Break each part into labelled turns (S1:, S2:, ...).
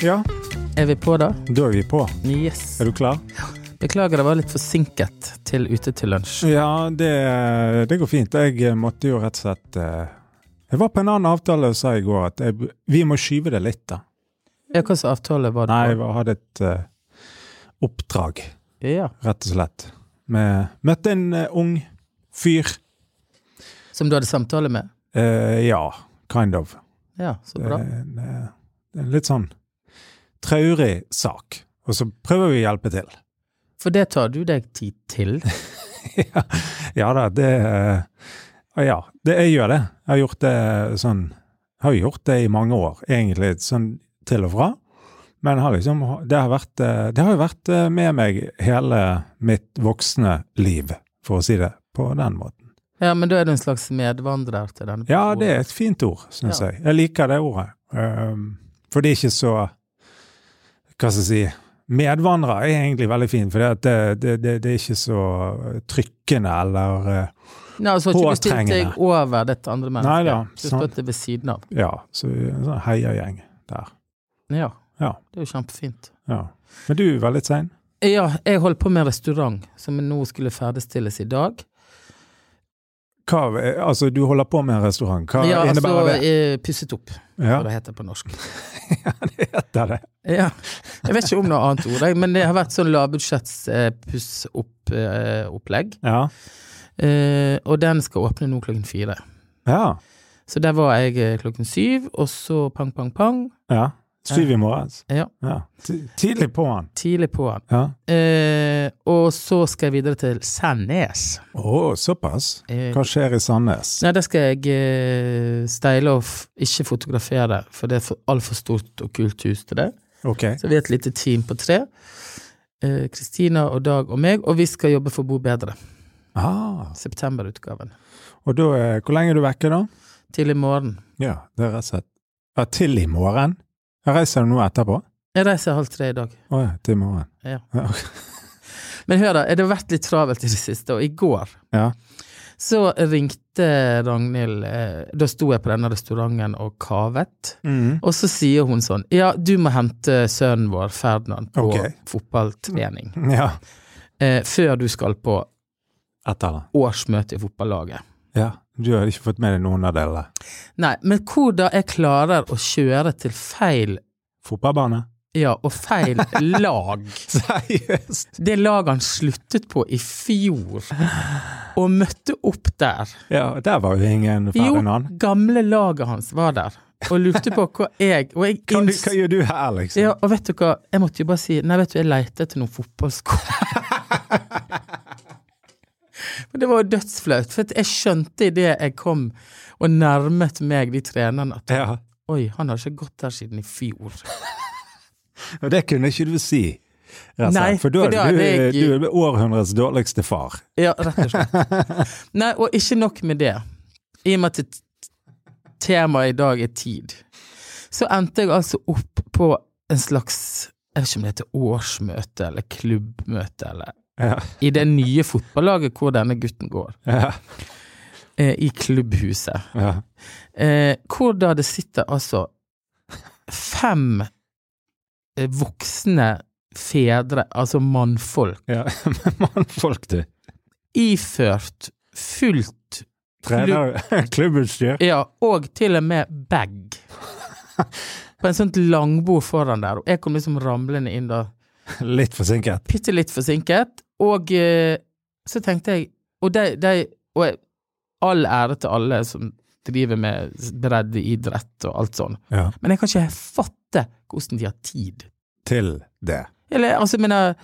S1: Ja,
S2: Er vi på da?
S1: da er vi på.
S2: Yes.
S1: Er du klar?
S2: Beklager, det var litt forsinket til Ute til lunsj.
S1: Ja, det, det går fint. Jeg eh, måtte jo rett og slett eh, Jeg var på en annen avtale og sa i går at jeg, vi må skyve det litt, da.
S2: Ja, hva slags avtale var det?
S1: Nei,
S2: på?
S1: jeg hadde et eh, oppdrag,
S2: Ja.
S1: rett og slett. Med, møtte en eh, ung fyr.
S2: Som du hadde samtale med?
S1: Eh, ja, kind of.
S2: Ja, så
S1: Det
S2: bra.
S1: er en, eh, det er en litt sånn traurig sak. Og så prøver vi å hjelpe til.
S2: For det tar du deg tid til.
S1: ja, ja da, det eh, Ja, det, jeg gjør det. Jeg har gjort det sånn Har jo gjort det i mange år, egentlig, sånn til og fra. Men har liksom, det, har vært, eh, det har jo vært eh, med meg hele mitt voksne liv, for å si det på den måten.
S2: Ja, men da er du en slags medvandrer til denne
S1: Ja,
S2: personen.
S1: det er et fint ord, syns
S2: Ja.
S1: jeg. Jeg liker det ordet. Ehm, for det er ikke så Hva skal jeg si Medvandrer er egentlig veldig fint, for det, det, det, det er ikke så trykkende eller eh,
S2: Nei, altså, har ikke du stilt
S1: påtrengende.
S2: deg over dette andre
S1: Nei
S2: mennesket.
S1: da,
S2: Du
S1: sant.
S2: stått deg ved siden av.
S1: Ja, så en sånn heiagjeng der.
S2: Ja.
S1: Ja.
S2: Det er jo kjempefint.
S1: Ja. Men du var litt sein.
S2: Ja, jeg holdt på med en restaurant som nå skulle ferdigstilles i dag.
S1: Hva, altså, du holder på med en restaurant. Hva
S2: ja,
S1: innebærer
S2: altså,
S1: det?
S2: eh, pusset opp,
S1: Ja,
S2: hva det heter på norsk.
S1: det heter det.
S2: Ja. Jeg vet ikke om noe annet ord, jeg, men det har vært sånn lavbudsjetts-puss-opp-opplegg.
S1: Ja.
S2: Eh, og den skal åpne nå klokken fire.
S1: ja.
S2: Så der var jeg eh, klokken syv, og så pang, pang, pang.
S1: ja. Syv i morges.
S2: Ja.
S1: ja. Ti- Tidlig på han.
S2: Tidlig på'n.
S1: Ja.
S2: Eh, og så skal jeg videre til Sandnes.
S1: Å, såpass.
S2: Eh,
S1: Hva skjer i Sandnes?
S2: Nei, der skal jeg eh, steile og f ikke fotografere, for det er for- altfor stort og kult hus til det.
S1: Ok.
S2: Så vi er et lite team på tre. Eh, Kristina og Dag og meg, og vi skal jobbe for Bo bedre.
S1: Ah.
S2: Septemberutgaven.
S1: Og da, eh, hvor lenge er du vekke da?
S2: Tidlig morgen.
S1: Ja, det er rett og slett. Ja, til i morgen? Jeg reiser du nå etterpå?
S2: Jeg reiser halv tre i dag.
S1: Å ja, til i morgen.
S2: Ja.
S1: Ja.
S2: Men hør, da. Det har vært litt travelt i det siste, og i går
S1: Ja.
S2: så ringte Ragnhild eh, Da sto jeg på denne restauranten og kavet.
S1: Mm.
S2: Og så sier hun sånn Ja, du må hente sønnen vår, Ferdinand, på
S1: Ok.
S2: fotballtrening.
S1: Ja.
S2: Eh, før du skal på
S1: Etter det.
S2: årsmøte i fotballaget.
S1: Ja. Du har ikke fått med deg noen av delene?
S2: Nei, men hvordan jeg klarer å kjøre til feil
S1: Fotballbane?
S2: Ja, og feil lag.
S1: Seriøst?
S2: Det laget han sluttet på i fjor, og møtte opp der.
S1: Ja, der var jo ingen
S2: Jo,
S1: Ferdinand.
S2: gamle laget hans var der, og lurte på hva jeg Og jeg
S1: Hva,
S2: inns...
S1: hva gjør du her, liksom?
S2: Ja, og vet du hva, jeg måtte jo bare si Nei, vet du, jeg leter etter noen fotballsko. Men det var jo dødsflaut, for at jeg skjønte idet jeg kom og nærmet meg de trenerne at
S1: Ja.
S2: Oi, han har ikke gått der siden i fjor.
S1: Og det kunne ikke du si. rett og
S2: Nei,
S1: slett, for da
S2: for da
S1: er du,
S2: hadde jeg-
S1: du er århundrets dårligste far.
S2: Ja, rett og slett. Nei, og ikke nok med det. I og med at t- temaet i dag er tid, så endte jeg altså opp på en slags jeg vet ikke om det heter årsmøte eller klubbmøte eller
S1: Ja.
S2: I det nye fotballaget hvor denne gutten går,
S1: Ja.
S2: eh, i klubbhuset.
S1: Ja.
S2: Eh, hvor da det sitter altså fem eh, voksne fedre, altså mannfolk,
S1: ja. Mannfolk, du.
S2: iført fullt
S1: Trener klubbutstyr.
S2: Ja, og til og med bag. På en sånt langbord foran der, og jeg kom liksom ramlende inn da,
S1: Litt forsinket.
S2: bitte litt forsinket, og eh, så tenkte jeg Og de, de Og jeg, all ære til alle som driver med breddeidrett og alt sånn,
S1: Ja.
S2: men jeg kan ikke fatte hvordan de har tid.
S1: Til det.
S2: Eller altså, jeg mener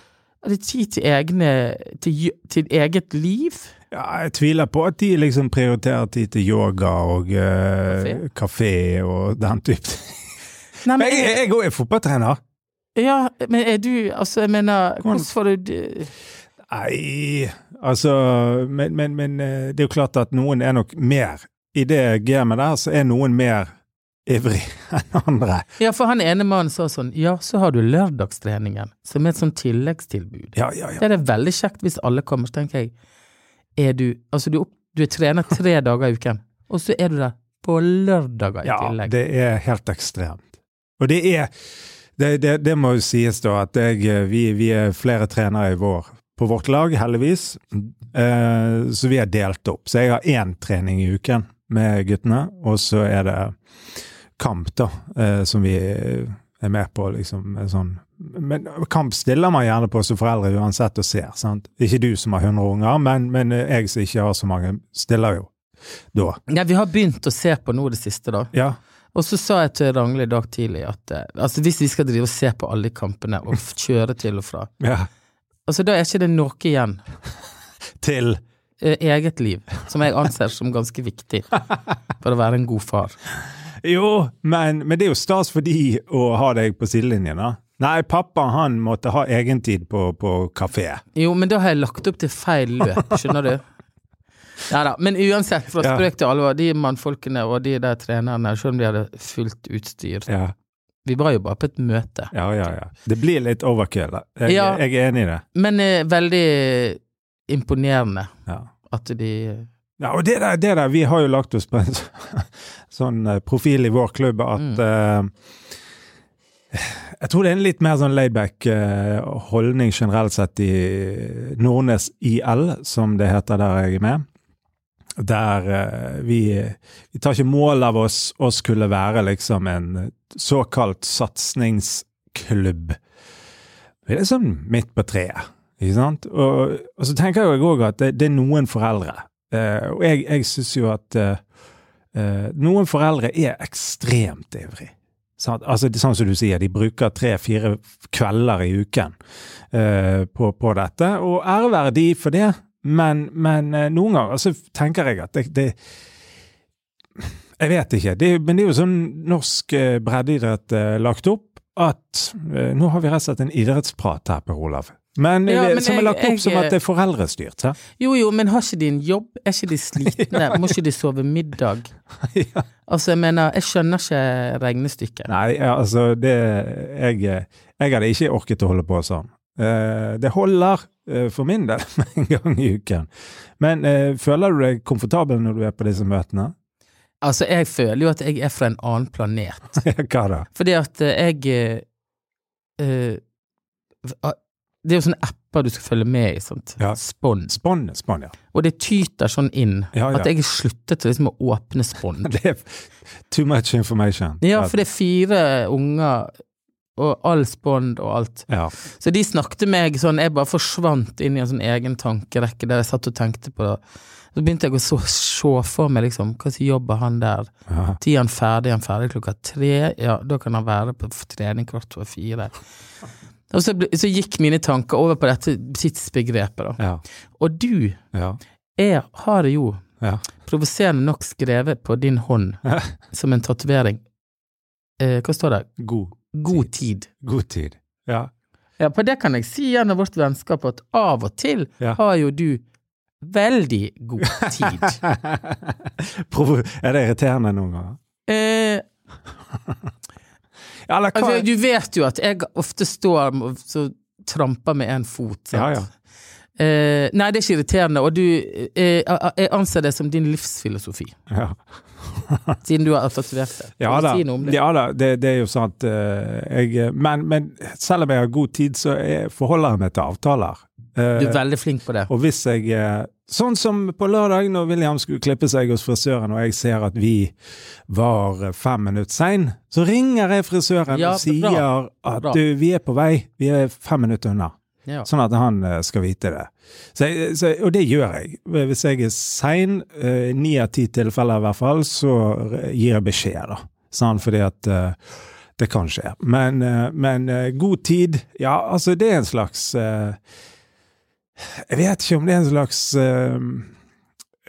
S2: Er det tid til egne Til, gj- til eget liv?
S1: Ja, jeg tviler på at de liksom prioriterer tid til yoga og eh, kafé og den type ting.
S2: Nei,
S1: Jeg jeg òg er fotballtrener.
S2: Ja, men er du Altså, jeg mener
S1: Hvordan-
S2: Hvordan får du det-
S1: Nei, altså men, men, men eh, det er jo klart at noen er nok mer I det gamet der, så er noen mer ivrig enn andre.
S2: Ja, for han ene mannen sa sånn, ja, så har du lørdagstreningen, som er et sånt tilleggstilbud.
S1: Ja, ja, ja.
S2: Det er det veldig kjekt hvis alle kommer, så tenker jeg, er du, altså du, er opp, du er trener tre dager i uken, og så er du der på lørdager i
S1: ja
S2: tillegg.
S1: det er helt ekstremt. Og det er det Det, det, det må jo sies da at jeg, vi, vi er flere trenere i vår på vårt lag, heldigvis. Eh, så vi er delt opp. Så jeg har én trening i uken med guttene, og så er det kamp, da, eh, som vi er med på, liksom. en Sånn. Men kamp stiller man gjerne på som foreldre uansett og ser, sant. Ikke du som har 100 unger, men, men jeg som ikke har så mange, stiller jo da.
S2: Nei, vi har begynt å se på nå det siste, da.
S1: Ja.
S2: Og så sa jeg til Ragnhild i dag tidlig at eh, altså hvis vi skal drive og se på alle kampene og f- kjøre til og fra,
S1: ja.
S2: altså da er ikke det noe igjen.
S1: Til
S2: eh, Eget liv, som jeg anser som ganske viktig for å være en god far.
S1: Jo, men, men det er jo stas for de å ha deg på sidelinjen, da. Nei, pappa han måtte ha egentid på, på kafé.
S2: Jo, men da har jeg lagt opp til feil løp, skjønner du? Nei da, men uansett, fra
S1: Ja.
S2: spøk til alvor, de mannfolkene og de der trenerne, selv om de hadde fullt utstyr
S1: Ja,
S2: Vi var jo bare på et møte.
S1: ja, ja. ja. Det blir litt overkill. da. Jeg,
S2: Ja.
S1: jeg er enig i det.
S2: Men eh, veldig imponerende
S1: Ja.
S2: at de
S1: Ja, og det der, det der, vi har jo lagt oss på en sånn- sånn eh, profil i vår klubb at eh, Jeg tror det er en litt mer sånn laidback eh, holdning generelt sett i Nordnes IL, som det heter der jeg er med. Der eh, vi, vi tar ikke mål av oss å skulle være liksom en såkalt satsingsklubb. Vi er sånn midt på treet, ikke sant? Og, og så tenker jeg òg at det, det er noen foreldre Eh, og jeg, jeg syns jo at eh, eh, noen foreldre er ekstremt ivrig. Sant? altså, det er sånn som du sier, de bruker tre-fire kvelder i uken eh, på, på dette, og ære være de for det, men, men eh, noen ganger så tenker jeg at det, det Jeg vet ikke, det, er- men det er jo sånn norsk eh, breddeidrett eh, lagt opp at eh, Nå har vi rett og slett en idrettsprat her, Per Olav. Men,
S2: Ja,
S1: eh,
S2: men
S1: som er
S2: jeg-
S1: lagt opp
S2: jeg-
S1: som at det er foreldrestyrt. hæ?
S2: Jo, jo, men har ikke de en jobb? Er ikke de slitne? Må ikke de sove middag?
S1: ja.
S2: Altså, jeg mener, jeg skjønner ikke regnestykket.
S1: Nei, ja, altså det jeg, jeg hadde ikke orket å holde på sånn. Eh, det holder eh, for min del med en gang i uken. Men eh, føler du deg komfortabel når du er på disse møtene?
S2: Altså, jeg føler jo at jeg er fra en annen planet.
S1: Hva da?
S2: Fordi at eh, jeg eh, eh, Det er jo sånne apper du skal følge med i, sant.
S1: Ja.
S2: Spon.
S1: Spann, spann, ja.
S2: Og det tyter sånn inn
S1: Ja, ja.
S2: at jeg har sluttet liksom å åpne spon.
S1: Det er too much information.
S2: Ja, for det er fire unger og all spond og alt.
S1: ja.
S2: Så de snakket meg sånn, jeg bare forsvant inn i en sånn egen tankerekke der jeg satt og tenkte på Så begynte jeg å så- se for meg liksom, hva som jobber han der?
S1: Ja.
S2: Tid er han ferdig, er han ferdig klokka tre? Ja, da kan han være på f- trening kvart over fire. Og så, ble- så gikk mine tanker over på dette tidsbegrepet, da.
S1: Ja.
S2: Og du
S1: Ja.
S2: er, har jo
S1: Ja.
S2: provoserende nok skrevet på din hånd som en tatovering eh, Hva står det?
S1: God,
S2: God tid.
S1: god tid. Ja.
S2: Ja, på det kan jeg si gjennom vårt vennskap at av og til
S1: Ja.
S2: har jo du veldig god tid.
S1: Provo er det irriterende noen ganger?
S2: eh,
S1: Ja, eller hva?
S2: altså, du vet jo at jeg ofte står og så tramper med en fot.
S1: Ja,
S2: Sant?
S1: ja.
S2: Eh, nei, det er ikke irriterende, og du eh, Jeg anser det som din livsfilosofi,
S1: ja.
S2: siden du har tatovert det.
S1: Ja da,
S2: Si noe om det.
S1: ja da det, det er jo sant. eh, Jeg, men, men selv om jeg har god tid, så er- forholder jeg meg til avtaler. Eh,
S2: Du er veldig flink på det.
S1: og hvis jeg eh, Sånn som på lørdag, når William skulle klippe seg hos frisøren, og jeg ser at vi var eh, fem minutter sein, så ringer jeg frisøren
S2: Ja,
S1: og sier
S2: bra.
S1: at
S2: Bra.
S1: du, vi er på vei, vi er fem minutter unna.
S2: Ja.
S1: Sånn at han eh, skal vite det. Så jeg, så, og det gjør jeg. Hvis jeg er sein, eh, i ni av ti tilfeller i hvert fall, så gir jeg beskjed, da. Sånn, fordi at eh, det kan skje. Men, eh, men eh, god tid, ja, altså det er en slags eh, Jeg vet ikke om det er en slags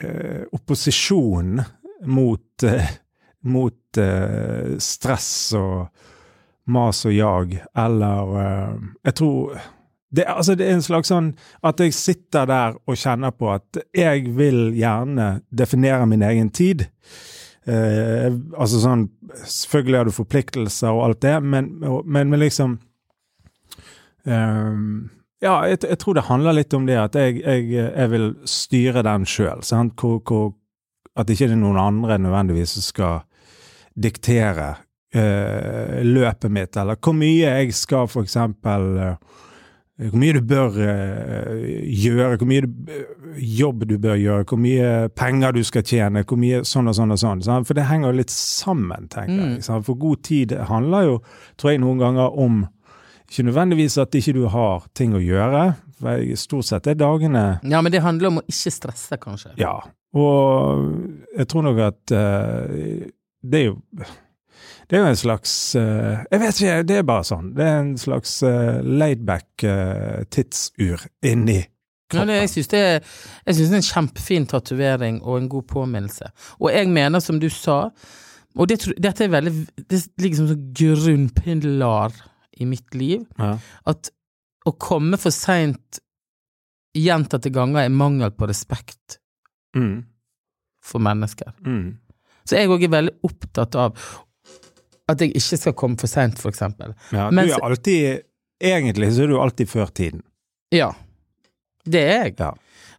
S1: eh, eh, opposisjon mot, eh, mot eh, stress og mas og jag, eller eh, Jeg tror det, er- altså det er en slags sånn at jeg sitter der og kjenner på at jeg vil gjerne definere min egen tid. Eh, altså sånn Selvfølgelig har du forpliktelser og alt det, men, og- men, men liksom eh, Ja, jeg, jeg tror det handler litt om det at jeg, jeg, jeg vil styre den sjøl. Hvor, hvor, at ikke det er noen andre nødvendigvis som skal diktere eh, løpet mitt, eller hvor mye jeg skal for eksempel eh, Hvor mye du bør eh, gjøre, hvor mye du, eh, jobb du bør gjøre, hvor mye penger du skal tjene, hvor mye sånn og sånn og sånn. sant? For det henger jo litt sammen, tenker jeg.
S2: Mm.
S1: sant? For god tid handler jo, tror jeg, noen ganger om ikke nødvendigvis at ikke du har ting å gjøre. For jeg- stort sett er dagene
S2: Ja, men det handler om å ikke stresse, kanskje.
S1: ja, og jeg tror nok at eh, det er jo det er jo en slags eh, Jeg vet ikke, det er bare sånn. Det er en slags eh, laidback eh, tidsur inni
S2: Ja, det,
S1: kroppen.
S2: jeg syns det, er- jeg synes det er en kjempefin tatovering og en god påminnelse. Og jeg mener, som du sa, og det, tror- dette er veldig, det ligger som en sånn grunnpilar i mitt liv,
S1: Ja.
S2: at å komme for seint gjentatte ganger er mangel på respekt
S1: Mm,
S2: for mennesker.
S1: mm,
S2: Så jeg òg er veldig opptatt av at jeg ikke skal komme for seint, for eksempel.
S1: ja.
S2: Men
S1: du
S2: så-
S1: er alltid Egentlig så er du alltid før tiden.
S2: Ja. Det er jeg.
S1: Ja.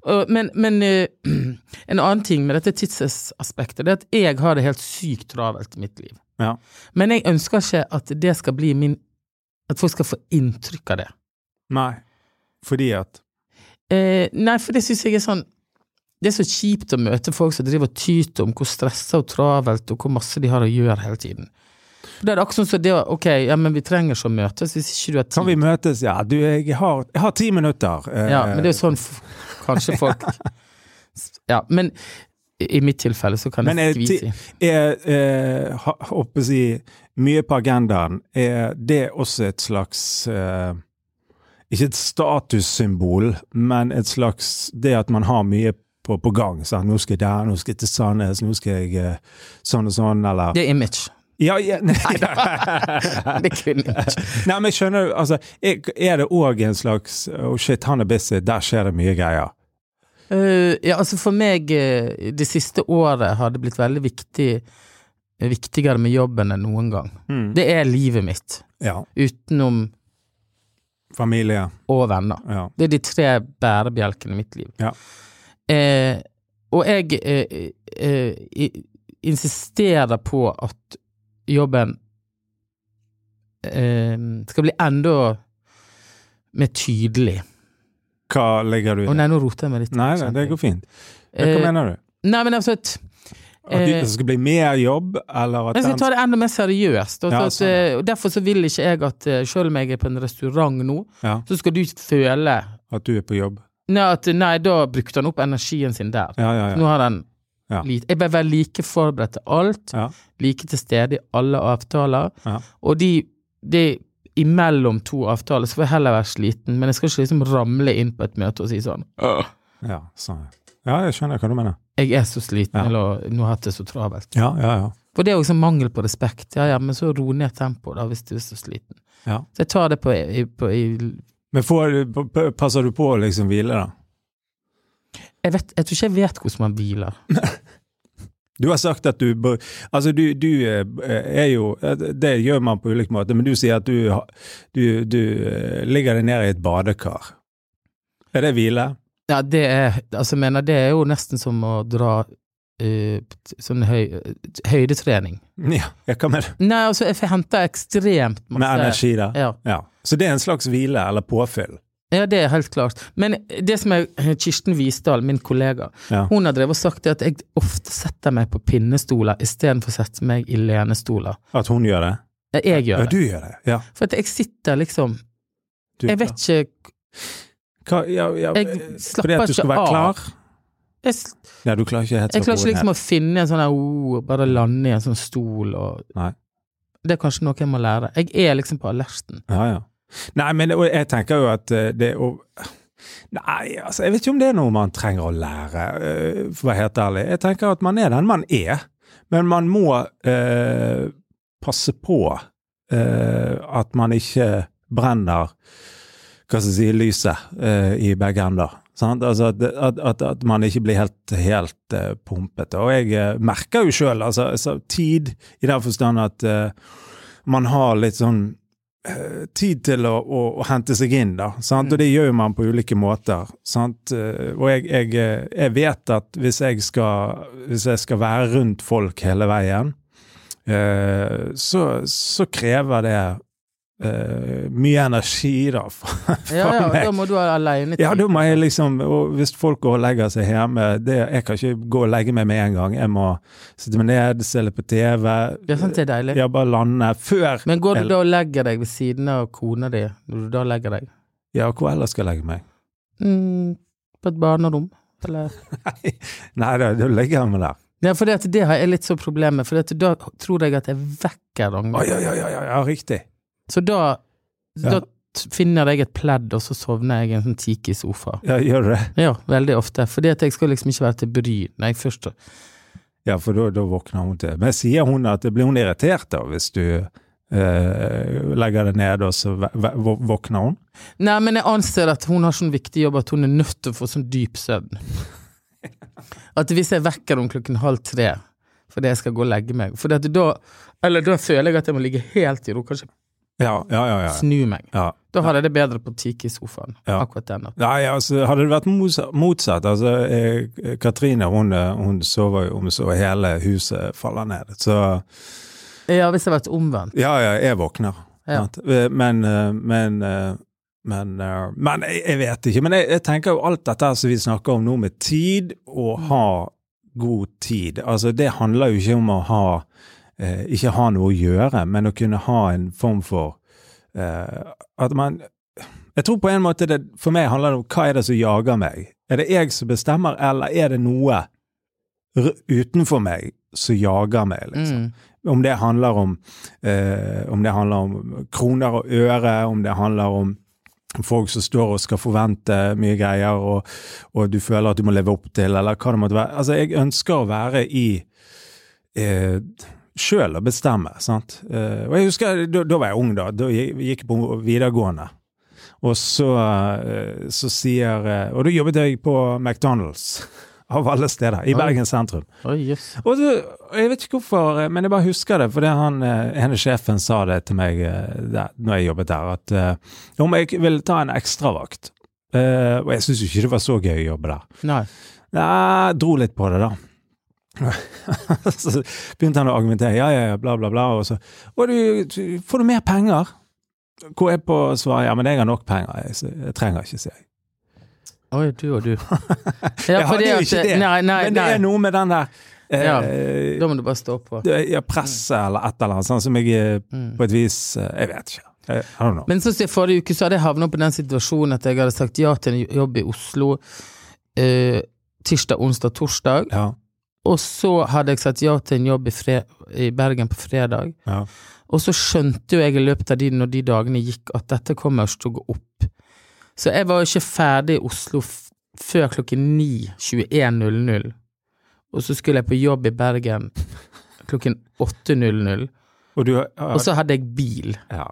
S2: Og- Men, men eh, en annen ting med dette tidsaspektet, det er at jeg har det helt sykt travelt i mitt liv.
S1: Ja.
S2: Men jeg ønsker ikke at det skal bli min At folk skal få inntrykk av det.
S1: Nei. Fordi at
S2: Eh, nei, for det syns jeg er sånn Det er så kjipt å møte folk som driver og tyter om hvor stressa og travelt og hvor masse de har å gjøre hele tiden. For det er akkurat sånn som det å Ok, ja, men vi trenger ikke å møtes hvis ikke du har tid.
S1: Kan vi møtes? Ja, du, jeg har, jeg har ti minutter. eh,
S2: Mm. Ja, men det er jo sånn f- kanskje folk Ja, men i mitt tilfelle så kan
S1: Men er
S2: jeg
S1: ti-
S2: skvise i.
S1: Er, eh, ha- håper jeg å si, mye på agendaen, er det også et slags eh, Ikke et statussymbol, men et slags Det at man har mye på, på gang. Sant? 'Nå skal jeg der, nå skal jeg til Sandnes, nå skal jeg eh, sånn og sånn', eller
S2: Det er image.
S1: Ja, ja nei,
S2: Det er kun image.
S1: nei, men skjønner du, altså Er, er det òg en slags 'Å, shit, han er busy, der skjer det mye greier'?
S2: Eh, ja, altså for meg eh, det siste året har det blitt veldig viktig viktigere med jobben enn noen gang. Det er livet mitt,
S1: Ja.
S2: utenom
S1: Familie.
S2: og venner.
S1: Ja.
S2: Det er de tre bærebjelkene i mitt liv.
S1: Ja.
S2: Eh, og jeg eh, eh, i- insisterer på at jobben eh, skal bli enda mer tydelig.
S1: Hva legger du i
S2: Å
S1: det?
S2: nei, nå roter jeg meg litt.
S1: Nei, nei, det går fint. Men hva
S2: Eh,
S1: mener du?
S2: Nei, men altså at
S1: At
S2: Eh,
S1: det det skal bli mer jobb, eller at
S2: jeg skal
S1: den
S2: ta det enda mer seriøst. og
S1: Ja, sånn,
S2: så at,
S1: ja.
S2: eh, og derfor så vil ikke jeg at eh, selv om jeg er på en restaurant nå,
S1: ja,
S2: så skal du føle
S1: At du er på jobb.
S2: nei, at nei, da brukte han opp energien sin der.
S1: Ja, ja,
S2: Nå
S1: ja.
S2: har den
S1: Ja.
S2: lite. Jeg bør være like forberedt til alt,
S1: Ja.
S2: like til stede i alle avtaler.
S1: Ja.
S2: Og de, de imellom to avtaler så får jeg heller være sliten, men jeg skal ikke liksom ramle inn på et møte og si sånn «Åh,
S1: Ja, sånn. ja, jeg skjønner hva du mener.
S2: Jeg er så sliten,
S1: Ja.
S2: eller nå har jeg hatt det så travelt.
S1: Ja, ja, ja.
S2: For det er også mangel på respekt. Ja, ja, men så ro ned tempoet, da, hvis du er så sliten.
S1: Ja.
S2: Så jeg tar det på, i, på i,
S1: Men får, du- p- p- passer du på å liksom hvile, da?
S2: jeg, vet, jeg tror ikke jeg vet hvordan man hviler.
S1: Du har sagt at du bør- Altså, du, du eh, er jo Det gjør man på ulik måte, men du sier at du, har- du, du eh, ligger deg ned i et badekar. Er det hvile?
S2: Ja, det er Altså, jeg mener, det er jo nesten som å dra eh, sånn høy, høydetrening.
S1: Ja, ja, hva mener du?
S2: Nei, altså, jeg henter ekstremt masse
S1: Med energi, da?
S2: Ja.
S1: Ja. Så det er en slags hvile, eller påfyll?
S2: ja, det er helt klart. Men det som er eh, Kirsten Visdal, min kollega,
S1: Ja.
S2: hun har drevet og sagt det at jeg ofte setter meg på pinnestoler istedenfor å sette meg i lenestoler.
S1: At hun gjør det?
S2: Ja, Jeg
S1: Ja,
S2: gjør det.
S1: du gjør det. Ja.
S2: For at jeg sitter liksom
S1: Du,
S2: Jeg vet ikke
S1: Hva, ja, ja,
S2: Jeg
S1: eh,
S2: slapper
S1: fordi at du skal
S2: ikke
S1: være
S2: av.
S1: klar?
S2: Jeg, s-
S1: Ja, du klarer ikke helt
S2: jeg klarer
S1: slappe
S2: ikke
S1: hodet
S2: liksom å finne en sånn her oh, Bare lande i en sånn stol og
S1: Nei.
S2: Det er kanskje noe jeg må lære. Jeg er liksom på alerten.
S1: ned. Ja, ja. Nei, men og jeg tenker jo at eh, det å Nei, altså, jeg vet ikke om det er noe man trenger å lære, eh, for å være helt ærlig. Jeg tenker at man er den man er, men man må eh, passe på eh, at man ikke brenner hva skal jeg si, lyset eh, i begge ender. Sant? Altså at, at, at, at man ikke blir helt, helt eh, pumpet. Og jeg eh, merker jo sjøl altså, altså, tid i den forstand at eh, man har litt sånn eh, tid til å, å, å hente seg inn, da.
S2: Mm.
S1: Sant? Og det gjør jo man på ulike måter. Sant? Eh, Og jeg, jeg, eh, jeg vet at hvis jeg, skal, hvis jeg skal være rundt folk hele veien, eh, så, så krever det eh, mye energi, da, fra, fra
S2: Ja, ja,
S1: meg.
S2: da må du ha alenetid.
S1: Ja, da må jeg liksom og Hvis folk går og legger seg hjemme det, Jeg kan ikke gå og legge meg med en gang. Jeg må sitte meg ned, se litt på TV.
S2: Ja, sant, det er deilig.
S1: Ja, bare lande før
S2: Men går du
S1: Eller-
S2: da og legger deg ved siden av kona di, når du da legger deg?
S1: Ja, hvor ellers skal jeg legge meg?
S2: Mm, på et barnerom, eller?
S1: Nei, da, da legger jeg meg der.
S2: Ja, for det, at det har jeg litt så problem med, for det, at da tror jeg at jeg vekker
S1: Å,
S2: Ragnhild.
S1: ja, ja, ja, ja, ja, riktig.
S2: Så da,
S1: Ja.
S2: da t- finner jeg et pledd, og så sovner jeg i en sånn tiki-sofa.
S1: Ja, gjør du det?
S2: Ja, veldig ofte. Fordi at jeg skal liksom ikke være til bry når jeg først
S1: Ja, for da, da våkner hun til. Men sier hun at det blir hun irritert da, hvis du eh, legger det ned, og så ve- ve- vå- våkner hun?
S2: Nei, men jeg anser at hun har sånn viktig jobb at hun er nødt til å få sånn dyp søvn. At hvis jeg vekker henne klokken halv tre fordi jeg skal gå og legge meg Fordi at da Eller da føler jeg at jeg må ligge helt i ro, kanskje
S1: Ja, ja, ja. ja.
S2: snu meg.
S1: ja.
S2: Da har jeg det bedre på Tiki i sofaen
S1: Ja.
S2: akkurat den natten.
S1: Nei, altså, hadde det vært mosa- motsatt altså, eh, Katrine hun, eh, hun sover jo om så hele huset faller ned. Så
S2: Ja, hvis jeg har vært omvendt.
S1: ja, ja, jeg våkner.
S2: Ja.
S1: sant? Eh, Men, eh, men, eh, men, eh, men jeg jeg vet ikke. Men jeg, jeg tenker jo alt dette som vi snakker om nå med tid, å ha god tid. Altså, det handler jo ikke om å ha eh, ikke ha noe å gjøre, men å kunne ha en form for eh, at man Jeg tror på en måte det for meg handler det om hva er det som jager meg? Er det jeg som bestemmer, eller er det noe r utenfor meg som jager meg? liksom?
S2: Mm.
S1: Om det handler om, eh, om det handler om kroner og øre, om det handler om folk som står og skal forvente mye greier, og, og du føler at du må leve opp til, eller hva det måtte være. Altså, jeg ønsker å være i eh, Sjøl å bestemme, sant. Eh, og jeg husker, da, da var jeg ung, da. Da gikk gikk jeg på videregående. Og så, eh, så sier eh, Og da jobbet jeg på McDonald's, av alle steder, i
S2: Oi.
S1: Bergen sentrum.
S2: Oi, jøss.
S1: Og så, og jeg vet ikke hvorfor, eh, men jeg bare husker det, fordi han eh, ene sjefen sa det til meg eh, der, når jeg jobbet der, at eh, om jeg ville ta en ekstravakt. Eh, og jeg syntes jo ikke det var så gøy å jobbe der.
S2: Nei.
S1: Nei, dro litt på det, da. så begynte han å argumentere, ja, ja, ja, bla, bla, bla. Og så og du, du, Får du mer penger? Hvor jeg på å svare ja, men jeg har nok penger, jeg, så jeg trenger ikke, sier jeg.
S2: Oi, du og du.
S1: Jeg hadde jo ikke det,
S2: Nei, nei,
S1: Men det
S2: nei.
S1: er noe med den der eh,
S2: Ja, Da må du bare stå på.
S1: det- ja, presset eller et eller annet, sånn som jeg eh,
S2: Mm.
S1: på et vis eh, Jeg vet ikke. Eh, I don't know.
S2: Men sånn som jeg forrige uke, så hadde jeg havnet på den situasjonen at jeg hadde sagt ja til en jobb i Oslo eh, tirsdag, onsdag, torsdag.
S1: Ja,
S2: Og så hadde jeg sagt ja til en jobb i, fre i Bergen på fredag.
S1: ja,
S2: Og så skjønte jo jeg i løpet av de, når de dagene gikk, at dette kommer ikke til å gå opp. Så jeg var jo ikke ferdig i Oslo f før klokken 9.21.00. Og så skulle jeg på jobb i Bergen klokken 8.00.
S1: Og du ja,
S2: Og så hadde jeg bil.
S1: ja.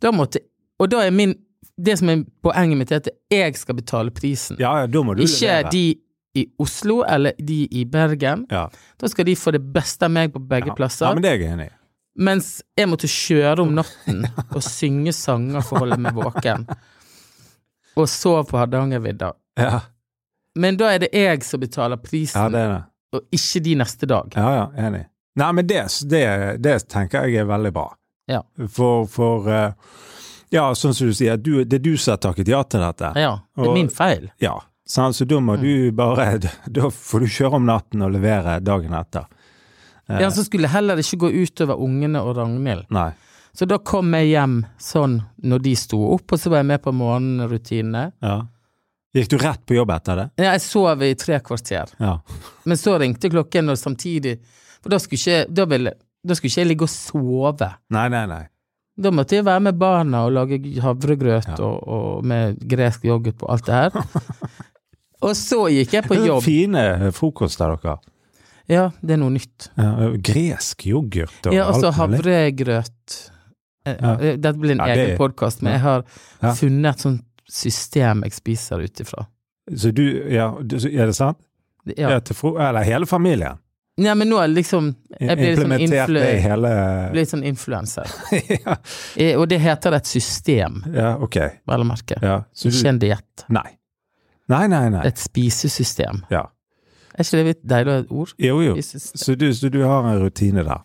S2: Da måtte, og da er min Det som er poenget mitt, er at jeg skal betale prisen.
S1: ja, ja, da må du
S2: ikke
S1: levere.
S2: de i Oslo eller de i Bergen.
S1: Ja.
S2: Da skal de få det beste av meg på begge
S1: Ja.
S2: plasser.
S1: Ja, men det er jeg enig i.
S2: Mens jeg måtte kjøre om natten og synge sanger for å holde meg våken. Og sov på Hardangervidda.
S1: Ja.
S2: Men da er det jeg som betaler prisen,
S1: ja, det er det.
S2: og ikke de neste dag.
S1: Ja, ja, enig. Nei, men det, det, det tenker jeg er veldig bra.
S2: Ja.
S1: For, for eh, Ja, sånn som du sier, du, det er du som har takket ja til dette.
S2: Ja, Mm. det er
S1: Og-
S2: min feil.
S1: Ja. sant? så da må du bare Da får du kjøre om natten og levere dagen etter.
S2: Ja, så skulle jeg heller ikke gå utover ungene og Ragnhild.
S1: Nei.
S2: Så da kom jeg hjem sånn når de sto opp, og så var jeg med på morgenrutinene.
S1: Ja. Gikk du rett på jobb etter det?
S2: Ja, Jeg sov i tre kvarter,
S1: Ja.
S2: men så ringte klokken, og samtidig For da skulle ikke, da ville, da skulle ikke jeg ligge og sove.
S1: Nei, nei, nei.
S2: Da måtte jeg være med barna og lage havregrøt og, og med gresk yoghurt på alt det her. og så gikk jeg på
S1: Det er
S2: jobb.
S1: Fine eh, frokoster dere.
S2: Ja, det er noe nytt.
S1: Ja, Gresk yoghurt og
S2: Ja, og så
S1: alt mulig.
S2: havregrøt. Eh,
S1: Ja.
S2: Dette blir en
S1: Ja, det-
S2: egen podkast, men
S1: Ja.
S2: jeg har
S1: Ja.
S2: funnet et sånt system jeg spiser ut ifra.
S1: Så du, ja, du, er det sant?
S2: Ja.
S1: Ja. til fro eller hele familien?
S2: Nei, men nå er det liksom Jeg blir liksom
S1: Implementert
S2: influ-
S1: det i hele
S2: blir sånn influenser.
S1: ja,
S2: Eh, Og det heter et system,
S1: ja, ok.
S2: vel å merke.
S1: Ja, så du,
S2: Ikke en diett.
S1: nei. Nei, nei, nei.
S2: Et spisesystem.
S1: Ja.
S2: Er ikke det litt deilig å ha et ord?
S1: Jo, jo.
S2: Jeg synes det.
S1: Så du, så du har en rutine der.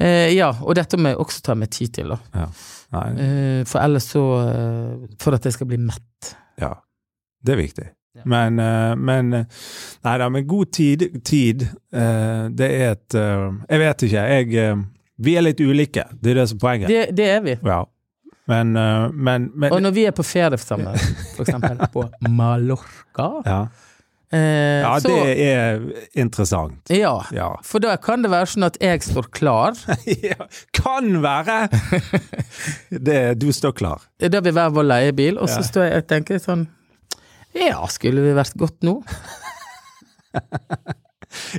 S2: Eh, ja, og dette må jeg også ta meg tid til, da.
S1: Nei,
S2: Eh, for ellers så eh, For at jeg skal bli mett.
S1: ja. Det er viktig.
S2: Ja.
S1: Men, eh, men eh, Nei da, men god tid, tid eh, Det er et eh, Jeg vet ikke. Jeg eh, Vi er litt ulike. Det er det som er poenget.
S2: Det, det er vi.
S1: Ja. Men, eh, men,
S2: Og
S1: men
S2: når vi er på ferie sammen, for eksempel på Mallorca,
S1: ja.
S2: eh,
S1: ja,
S2: så
S1: det er interessant.
S2: Ja.
S1: Ja.
S2: For da kan det være sånn at jeg står klar.
S1: Ja, Kan være! Det, du står klar.
S2: Da vil hver vår leiebil, og så
S1: Ja.
S2: står jeg og tenker sånn Ja, skulle vi vært godt nå?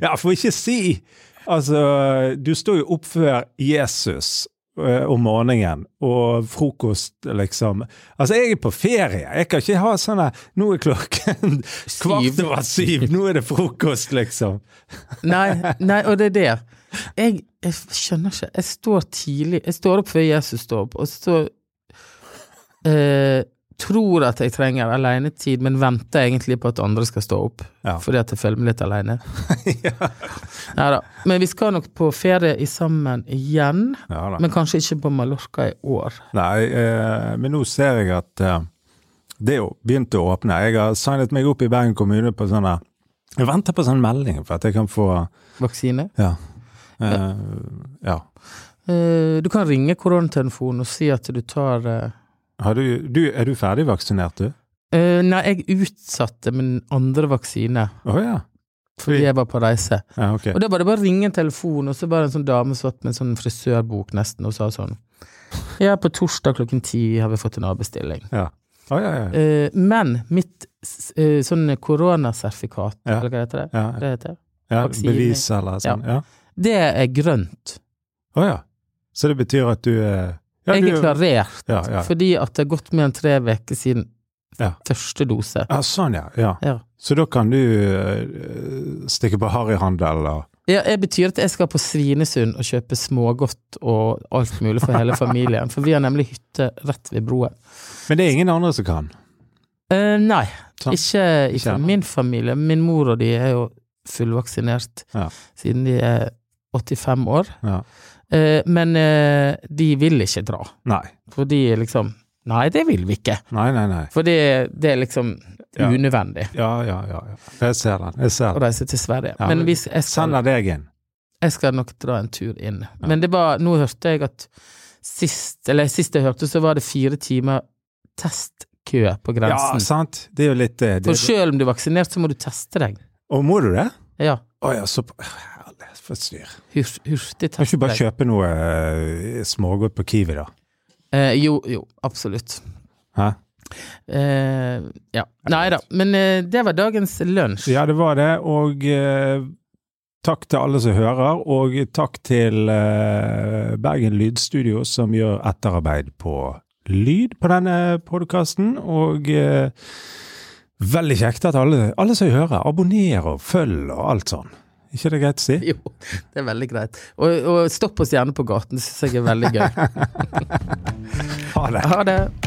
S1: Ja, for ikke si Altså, du står jo opp før Jesus eh, om morgenen, og frokost, liksom. Altså, jeg er på ferie. Jeg kan ikke ha sånn her Nå er klokken kvart over syv, nå er det frokost, liksom.
S2: Nei, nei, og det er det. Jeg, jeg skjønner ikke. Jeg står tidlig Jeg står opp før Jesus står opp, og så eh, tror at jeg trenger alenetid, men venter egentlig på at andre skal stå opp.
S1: Ja.
S2: Fordi at jeg føler meg litt aleine. Nei da. Men vi skal nok på ferie i sammen igjen.
S1: Ja da.
S2: Men kanskje ikke på Mallorca i år.
S1: Nei, eh, men nå ser jeg at eh, det er jo begynt å åpne. Jeg har signet meg opp i Bergen kommune på sånne Jeg venter på sånn melding for at jeg kan få
S2: Vaksine.
S1: Ja. Eh, ja.
S2: Eh, du kan ringe koronatelefonen og si at du tar eh,
S1: Har du, du, er du ferdig vaksinert, du?
S2: eh, Nei, jeg utsatte min andre vaksine
S1: Å ja.
S2: fordi jeg var på reise.
S1: ja. Ok.
S2: Og da var det bare å ringe en telefon, og så var det en sånn dame som satt med en sånn frisørbok nesten og sa sånn Ja, på torsdag klokken ti har vi fått en avbestilling.
S1: Ja. Å, ja, ja.
S2: Eh, men mitt s- eh, sånn koronasertifikat,
S1: Ja.
S2: eller hva heter det?
S1: ja.
S2: Det heter det.
S1: ja.
S2: vaksine.
S1: Bevis eller sånn. Ja.
S2: Det er grønt.
S1: Å ja. Så det betyr at du er ja,
S2: jeg
S1: du,
S2: er klarert
S1: Ja, ja.
S2: fordi at det har gått mer enn tre uker siden
S1: Ja.
S2: første dose.
S1: ja, sånn, ja. ja.
S2: Ja.
S1: Så da kan du eh, stikke på harryhandel og
S2: Ja, det betyr at jeg skal på Svinesund og kjøpe smågodt og alt mulig for hele familien. For vi har nemlig hytte rett ved broen.
S1: Men det er ingen andre som kan.
S2: Eh, nei,
S1: Sant.
S2: ikke, ikke
S1: Sånn. Ikke.
S2: min familie. Min mor og de er jo fullvaksinert
S1: Ja.
S2: siden de er 85 år.
S1: Ja.
S2: Eh, men eh, de vil ikke dra.
S1: Nei.
S2: For de er liksom Nei, det vil vi ikke.
S1: Nei, nei, nei.
S2: For det, det er liksom
S1: Ja.
S2: unødvendig
S1: Ja, ja, ja. ja. Jeg ser den. Jeg
S2: å
S1: ser den.
S2: reise til Sverige.
S1: Ja,
S2: men
S1: men-
S2: hvis jeg skal
S1: Sender deg inn.
S2: jeg skal nok dra en tur inn. Men det var, nå hørte jeg at sist, eller sist jeg hørte, så var det fire timer testkø
S1: Ja,
S2: på grensen.
S1: sant? Det er jo litt eh, det.
S2: For selv om du er vaksinert, så må du teste deg.
S1: Og må du det?
S2: Ja,
S1: Å ja, så Herlig, for et styr.
S2: hur, hurtig
S1: Kan ikke
S2: test
S1: du bare
S2: deg.
S1: kjøpe noe eh, smågodt på Kiwi, da?
S2: Eh, jo, jo, absolutt.
S1: Hæ?
S2: Eh, ja. Nei da, men eh, det var dagens lunsj.
S1: Ja, det var det. Og eh, takk til alle som hører, og takk til eh, Bergen Lydstudio, som gjør etterarbeid på lyd på denne podkasten. Og eh, veldig kjekt at alle, alle som hører, abonnerer og følger og alt sånn. Ikke det greit å si?
S2: Jo, det er veldig greit. Og, og stopp oss gjerne på gaten, det syns jeg er veldig gøy.
S1: Ha det.
S2: Ha det.